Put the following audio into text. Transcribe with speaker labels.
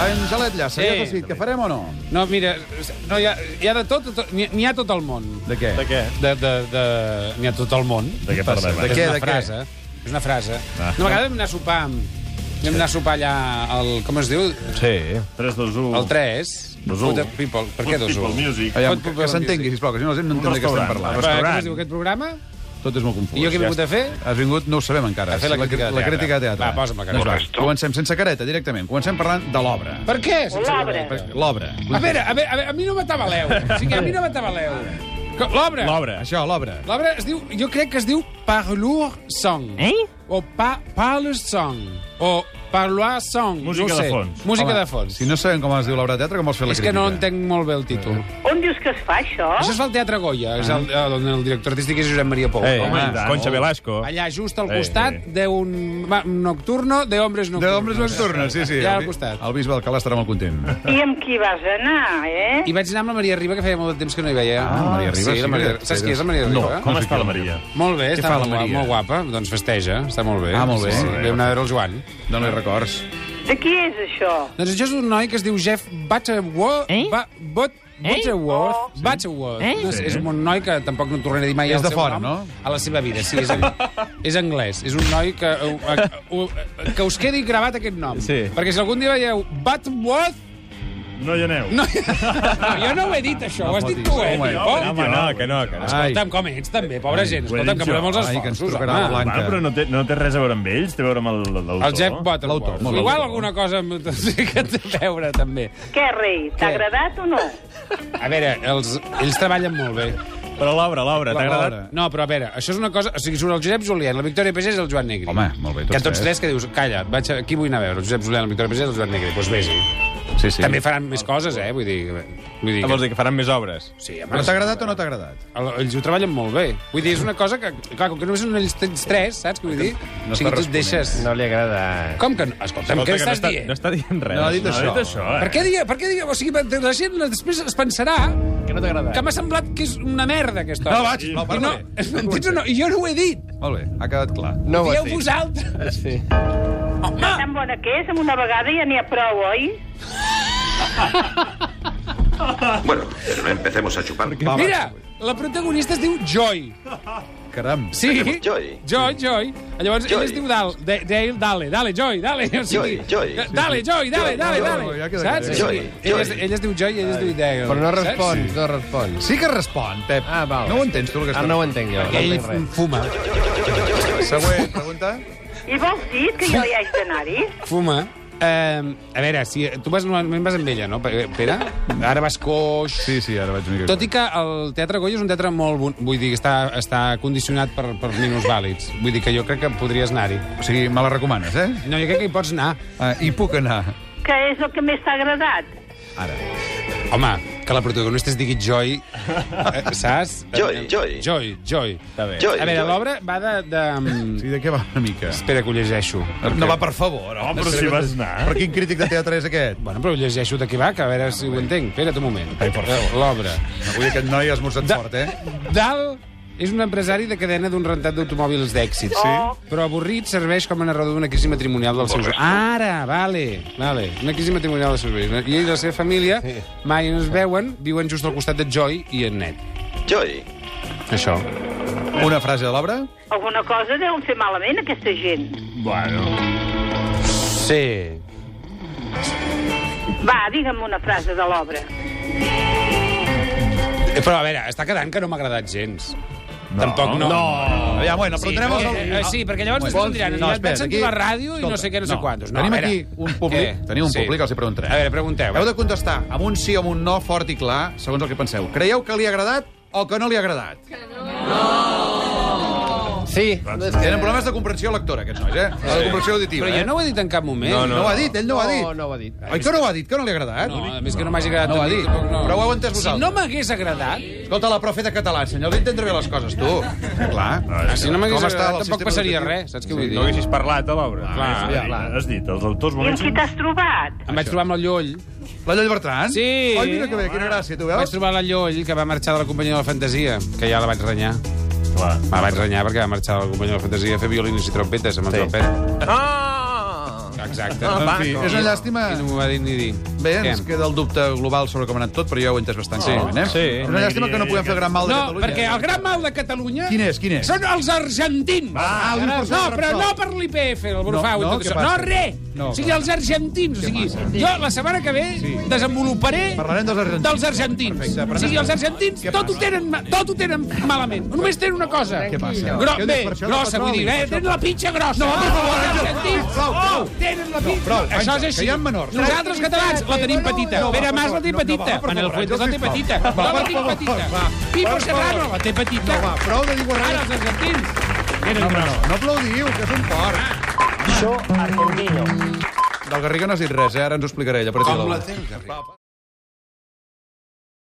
Speaker 1: allà, s'havia
Speaker 2: Sí.
Speaker 1: decidit que farem o no?
Speaker 2: No, mira, no, hi, ha, hi ha de tot, tot n'hi n'hi ha tot el món.
Speaker 1: De què?
Speaker 3: De què?
Speaker 2: De, de, de, n'hi ha tot el món.
Speaker 3: De què parlem?
Speaker 1: De
Speaker 3: ara?
Speaker 2: és
Speaker 1: què,
Speaker 2: una
Speaker 1: de què?
Speaker 2: frase. És una frase.
Speaker 3: Ah.
Speaker 2: Una vegada vam anar a sopar amb... Vam anar a sopar allà al... Com es diu?
Speaker 4: Sí.
Speaker 3: 3, 2, 1.
Speaker 2: Al 3.
Speaker 3: Dos u.
Speaker 2: People. Per què dos u?
Speaker 3: People Music.
Speaker 1: Aviam,
Speaker 2: Pot-
Speaker 1: que, que s'entengui, sisplau, que si no la gent no
Speaker 3: Un
Speaker 1: entén de què estem
Speaker 3: restaurant.
Speaker 1: parlant.
Speaker 2: Per, com
Speaker 3: Restaurant.
Speaker 2: es diu aquest programa?
Speaker 1: Tot és molt confús.
Speaker 2: I jo què he
Speaker 1: Ja
Speaker 2: vingut a fer?
Speaker 1: Has vingut, no ho sabem encara.
Speaker 2: A fer la crítica de
Speaker 1: la
Speaker 2: teatre.
Speaker 1: crítica de teatre.
Speaker 2: Va, posa'm la careta.
Speaker 1: Doncs va, comencem sense careta, directament. Comencem parlant de l'obra.
Speaker 2: Per què? sense
Speaker 5: L'obra.
Speaker 2: voler?
Speaker 1: L'obra.
Speaker 2: A veure, a veure, a veure, a mi no m'atabaleu. O sigui, a mi no m'atabaleu. Co- L'obra.
Speaker 3: L'obra.
Speaker 1: Això, l'obra.
Speaker 2: L'obra es diu... Jo crec que es diu Parlour Song. Eh? O pa, Parlour Song. O Parloir Song.
Speaker 3: Música
Speaker 2: no ho
Speaker 3: de
Speaker 2: sé.
Speaker 3: fons.
Speaker 2: Música
Speaker 1: Home,
Speaker 2: de fons.
Speaker 1: Si no sabem com es diu l'obra de teatre, com vols fer la Eh?
Speaker 2: és que
Speaker 1: crítica?
Speaker 2: no entenc molt bé el títol.
Speaker 5: On dius que es fa, això?
Speaker 2: Això es fa al Teatre Goya, és
Speaker 1: Eh?
Speaker 2: el, el, el director artístic és Josep Maria Pou.
Speaker 4: Ei,
Speaker 3: Home, Ah?
Speaker 4: home,
Speaker 3: i tant.
Speaker 4: Concha
Speaker 1: eh.
Speaker 4: Velasco.
Speaker 2: Allà, just al
Speaker 4: Ei,
Speaker 2: costat
Speaker 4: ei.
Speaker 2: d'un ma- nocturno de hombres
Speaker 1: De
Speaker 2: nocturnos.
Speaker 1: d'Ombres Nocturnes, sí, sí.
Speaker 2: Allà
Speaker 1: El-
Speaker 2: al costat.
Speaker 1: El bisbe Alcalà estarà molt content.
Speaker 5: I amb qui vas anar, eh?
Speaker 2: I vaig anar amb la Maria Riba, que feia molt de temps que no hi veia.
Speaker 1: Ah, la Maria Ribas,
Speaker 2: Sí, la
Speaker 1: sí,
Speaker 2: Maria...
Speaker 1: que-
Speaker 2: Saps qui és la Maria
Speaker 1: No.
Speaker 2: Riba?
Speaker 3: Com està la Maria?
Speaker 2: Molt bé, està
Speaker 1: fa la
Speaker 2: molt, gua-
Speaker 1: Maria?
Speaker 2: molt guapa. Doncs festeja, està molt bé.
Speaker 1: Ah, molt bé.
Speaker 2: Sí, sí.
Speaker 1: Molt bé.
Speaker 2: Vam anar a veure el Joan.
Speaker 1: No li records.
Speaker 5: De qui és, això?
Speaker 2: Doncs això és un noi que es diu Jeff Butterworth.
Speaker 6: Eh?
Speaker 2: Ba But Butterworth.
Speaker 5: Oh.
Speaker 2: Sí. Butterworth.
Speaker 6: Eh?
Speaker 2: No, és, és un noi que tampoc no tornaré a dir mai
Speaker 1: És
Speaker 2: el
Speaker 1: de
Speaker 2: seu
Speaker 1: fora,
Speaker 2: nom
Speaker 1: no?
Speaker 2: a la seva vida. Sí, és, és anglès. És un noi que, eh, eh, que us quedi gravat aquest nom.
Speaker 4: Sí.
Speaker 2: Perquè si algun dia veieu Butterworth...
Speaker 3: No hi aneu.
Speaker 2: No, no, jo no ho he dit, això. ho has dit tu, eh?
Speaker 1: Home,
Speaker 2: Oh,
Speaker 4: Home, no, que no, que no.
Speaker 1: Ai,
Speaker 2: Escolta'm, com ets, també, pobra gent.
Speaker 3: ho he
Speaker 2: Escolta'm,
Speaker 3: dit
Speaker 2: que
Speaker 3: jo.
Speaker 2: volem els
Speaker 1: Ai, que ens
Speaker 2: esforços.
Speaker 1: trucarà
Speaker 2: home.
Speaker 1: el Blanc.
Speaker 3: Bueno, però no té, no té res a veure amb ells, té a veure amb el- l'autor.
Speaker 2: El Jeff
Speaker 1: L'autor,
Speaker 2: Butterworth.
Speaker 1: molt bé.
Speaker 2: Igual alguna cosa amb- que té a veure, també.
Speaker 5: Què, rei?
Speaker 2: Què?
Speaker 5: T'ha agradat o no?
Speaker 2: A veure, els, ells treballen molt bé.
Speaker 4: Però l'obra, l'obra, t'ha agradat?
Speaker 1: L'obra.
Speaker 2: No, però a veure, això és una cosa... O sigui, surt el Josep Julián, la Victòria Pagès i el Joan Negri.
Speaker 1: Home, molt bé, tots
Speaker 2: que tots
Speaker 1: tres.
Speaker 2: tres que dius, calla, vaig a, qui vull anar a veure? El Josep Julián, la Victòria Pagès i el Joan Negri. Doncs pues vés-hi.
Speaker 1: Sí, sí.
Speaker 2: Sí. També faran més coses, eh? Vull dir... Vull dir
Speaker 4: Ah, Vols dir que faran més obres?
Speaker 2: Sí, home,
Speaker 1: Però t'ha agradat o no t'ha agradat?
Speaker 2: El- Ells ho treballen molt bé. Vull dir, és una cosa que... Clar, com que només són ells tens tres, saps què vull dir?
Speaker 1: No
Speaker 2: o sigui,
Speaker 1: està
Speaker 2: tu et deixes...
Speaker 4: No li agrada.
Speaker 2: Com que no? Escolta'm,
Speaker 4: Escolta,
Speaker 2: què
Speaker 4: que no
Speaker 2: estàs
Speaker 4: està,
Speaker 2: dient?
Speaker 4: No està dient res.
Speaker 1: No ha dit
Speaker 3: No,
Speaker 1: això.
Speaker 3: ha dit això, eh?
Speaker 2: Per què digue, per què digue, o sigui, la gent després es pensarà
Speaker 4: Que no t'ha agradat.
Speaker 2: que m'ha semblat que és una merda aquesta
Speaker 1: No,
Speaker 2: obra.
Speaker 1: vaig, no,
Speaker 2: I no,
Speaker 1: parla bé.
Speaker 2: m'entens o no? I jo no ho he dit.
Speaker 1: Molt bé, ha quedat clar.
Speaker 2: No ho Dieu vosaltres.
Speaker 4: Sí.
Speaker 2: Home,
Speaker 5: Tan bona que és, amb una vegada ja n'hi ha prou, oi?
Speaker 7: Bueno, pero no empecemos a chupar.
Speaker 1: Va, va.
Speaker 2: mira, la protagonista es diu Joy.
Speaker 1: Caram.
Speaker 2: Sí?
Speaker 7: Joy.
Speaker 2: Joy, Joy. Llavors, ell
Speaker 7: Joy.
Speaker 2: es diu Dal, de, Dale, Dale, Dale, Joy, Dale. O sigui,
Speaker 7: Joy, Joy.
Speaker 2: eh, Dale, Joy, Dale, Dale,
Speaker 1: Joy,
Speaker 2: Dale.
Speaker 1: Joy, ja queda
Speaker 2: Saps?
Speaker 1: clar.
Speaker 2: O sigui,
Speaker 7: Joy,
Speaker 2: ell, es,
Speaker 7: Joy.
Speaker 2: ell es diu Joy i ell es diu Dale.
Speaker 8: Però no
Speaker 2: saps?
Speaker 8: respons, no respons.
Speaker 1: Sí que respon, Pep.
Speaker 8: Ah, val.
Speaker 1: No ho entens, tu, el que
Speaker 8: Ara
Speaker 1: estàs...
Speaker 8: no ho entenc jo.
Speaker 2: Sí.
Speaker 8: no
Speaker 2: Ell
Speaker 8: entenc res.
Speaker 2: fuma,
Speaker 1: Següent, pregunta.
Speaker 5: I vols dir que jo hi haig d'anar-hi?
Speaker 2: fuma. Uh, a veure, si tu vas, normalment vas amb ella, no, Pere? Ara vas coix...
Speaker 1: Sí, sí, ara vaig una mica...
Speaker 2: Tot i que el Teatre Goya és un teatre molt bon... Vull dir que està, està condicionat per, per minusvàlids. Vull dir que jo crec que podries anar-hi.
Speaker 1: O sigui, me la recomanes, eh?
Speaker 2: No, jo crec que hi pots anar.
Speaker 1: Ah, hi puc anar.
Speaker 5: Que és el que més t'ha agradat?
Speaker 1: Ara.
Speaker 2: Home, que la protagonista es digui Joy, eh, saps? Eh,
Speaker 7: Joy, Joy.
Speaker 2: Joy, Joy.
Speaker 4: Està bé.
Speaker 7: Joy,
Speaker 2: A veure,
Speaker 7: Joy.
Speaker 2: l'obra va de... de... mm,
Speaker 1: Sí, de què va una mica?
Speaker 2: Espera que ho llegeixo.
Speaker 1: No va, per favor.
Speaker 3: No, però si vas anar.
Speaker 1: Per quin crític de teatre és aquest?
Speaker 2: Bueno, però ho llegeixo de què va, que a veure si ho entenc. Espera't un moment. L'obra.
Speaker 1: Avui aquest noi ha esmorzat
Speaker 2: Da-
Speaker 1: fort, eh?
Speaker 2: Dal és un empresari de cadena d'un rentat d'automòbils d'èxit.
Speaker 5: Sí. Oh.
Speaker 2: Però avorrit serveix com a narrador d'una crisi matrimonial dels seus... Ara, vale, vale. Una crisi matrimonial dels seus veïns. I ell i la seva família mai no es veuen, viuen just al costat de Joy i en Ned.
Speaker 7: Joy.
Speaker 2: Això.
Speaker 1: Una frase de l'obra?
Speaker 5: Alguna cosa deuen fer malament, aquesta gent.
Speaker 3: Bueno.
Speaker 2: Sí. Eh,
Speaker 5: Va, digue'm una frase de l'obra.
Speaker 2: Eh, Però, a veure, està quedant que no m'ha agradat gens. No. Tampoc no.
Speaker 1: No. Aviam, bueno,
Speaker 2: Sí,
Speaker 1: preguntarem
Speaker 2: perquè, eh,
Speaker 1: als...
Speaker 2: sí, perquè llavors després em diran, no, et vaig sentir la ràdio i no sé què, no sé quantos. No,
Speaker 1: tenim
Speaker 2: a veure.
Speaker 1: aquí un públic,
Speaker 2: Què?
Speaker 1: tenim un
Speaker 2: Sí.
Speaker 1: públic, els hi preguntarem.
Speaker 2: A veure, pregunteu.
Speaker 1: Heu de contestar amb un sí o amb un no fort i clar, segons el que penseu. Creieu que li ha agradat o que no li ha agradat?
Speaker 8: Sí,
Speaker 1: Tenen problemes de comprensió lectora, aquests nois, eh? De comprensió auditiva,
Speaker 2: Però jo
Speaker 1: eh?
Speaker 2: no ho he dit en cap moment.
Speaker 1: No ho ha dit, ell no ho ha dit.
Speaker 8: No, no ho ha dit.
Speaker 1: Oi que no ho ha dit, que no li ha agradat?
Speaker 2: No, a més que no m'hagi agradat
Speaker 1: No ho ha
Speaker 2: a mi,
Speaker 1: dit.
Speaker 2: tampoc no.
Speaker 1: Però ho heu entès
Speaker 2: Si
Speaker 1: vosaltres.
Speaker 2: no m'hagués agradat,
Speaker 1: Escolta, la profe de català, senyor, has d'entendre bé les coses, tu. Clar.
Speaker 2: si no m'hagués
Speaker 1: Com està
Speaker 2: agradat,
Speaker 1: el
Speaker 2: tampoc
Speaker 1: sistema
Speaker 2: passaria
Speaker 1: educatiu?
Speaker 2: res, saps què vull
Speaker 4: No
Speaker 2: dir?
Speaker 4: haguessis parlat a l'obra.
Speaker 2: Clar.
Speaker 4: Sí,
Speaker 3: Ja, Ah, has dit, els autors
Speaker 5: I amb
Speaker 2: Doncs
Speaker 3: moments...
Speaker 5: qui t'has trobat?
Speaker 2: Em vaig trobar amb el Lloll.
Speaker 1: La Lloll Bertran?
Speaker 2: Sí.
Speaker 1: Oi, mira que bé, quina gràcia, tu
Speaker 2: Em vaig
Speaker 1: veus?
Speaker 2: trobar la Lloll, que va marxar de la companyia de la fantasia, que ja la vaig renyar.
Speaker 3: Clar.
Speaker 2: Me la vaig renyar perquè va marxar de la companyia de la fantasia a fer violines i trompetes amb el sí. Joan Pere.
Speaker 4: Ah!
Speaker 2: Que Exacte.
Speaker 1: Ah, va,
Speaker 2: fi,
Speaker 1: és una llàstima.
Speaker 2: I no m'ho va dir ni dir.
Speaker 1: Bé,
Speaker 2: Què?
Speaker 1: ens queda el dubte global sobre com ha anat tot, però ja ho he entès bastant clarament, eh?
Speaker 4: sí.
Speaker 1: És una llàstima que no podem fer gran mal de
Speaker 2: No,
Speaker 1: Catalunya. eh?
Speaker 2: perquè el gran mal de Catalunya...
Speaker 1: Quin és, quin és?
Speaker 2: Són els argentins.
Speaker 1: Ah,
Speaker 2: no,
Speaker 1: l'impost
Speaker 2: no,
Speaker 1: sobre
Speaker 2: però
Speaker 1: el
Speaker 2: no
Speaker 1: sol.
Speaker 2: per l'IPF, el Brufau
Speaker 1: No, no,
Speaker 2: no, i tot
Speaker 1: què
Speaker 2: això.
Speaker 1: passa?
Speaker 2: No, res.
Speaker 1: No,
Speaker 2: No, o sigui,
Speaker 1: clar.
Speaker 2: els argentins. O sigui,
Speaker 1: passa?
Speaker 2: jo la setmana que ve desenvoluparé
Speaker 1: Parlarem dels argentins.
Speaker 2: dels argentins.
Speaker 1: Perfecte, però
Speaker 2: o sigui,
Speaker 1: anem-
Speaker 2: els argentins
Speaker 1: Què
Speaker 2: tot ho,
Speaker 1: passa?
Speaker 2: tenen, ma- tot ho tenen malament. Només tenen una cosa.
Speaker 1: Què passa?
Speaker 2: Gro
Speaker 1: Què ho
Speaker 2: bé,
Speaker 1: dius, per això del
Speaker 2: grossa, vull
Speaker 1: petroli,
Speaker 2: dir,
Speaker 1: per
Speaker 2: eh?
Speaker 1: això?
Speaker 2: Tenen la pitxa grossa. No, per favor, els argentins Oh,
Speaker 1: Prou, prou.
Speaker 2: tenen la pitxa.
Speaker 1: prou,
Speaker 2: Això
Speaker 1: Àngel,
Speaker 2: és així.
Speaker 1: que hi ha menors.
Speaker 2: Nosaltres, catalans, la tenim petita.
Speaker 1: No, va,
Speaker 2: Pere
Speaker 1: per
Speaker 2: Mas la
Speaker 1: favor,
Speaker 2: té
Speaker 1: no, no,
Speaker 2: petita.
Speaker 1: va, per
Speaker 2: Manuel
Speaker 1: favor,
Speaker 2: Fuentes la té
Speaker 1: sisplau.
Speaker 2: petita.
Speaker 1: Va,
Speaker 2: Jo la
Speaker 1: per
Speaker 2: tinc
Speaker 1: favor, va,
Speaker 2: petita.
Speaker 1: per
Speaker 2: Pipo
Speaker 1: favor.
Speaker 2: Serrano la té petita.
Speaker 1: Va, prou de dir
Speaker 2: Ara,
Speaker 1: guarreres.
Speaker 2: els argentins.
Speaker 1: No, home, no, no aplaudiu, que és un porc.
Speaker 6: Yo, argentino.
Speaker 1: Del Garriga no has dit res, eh? Ara ens ho explicarà ella. Per Com la té, Garriga?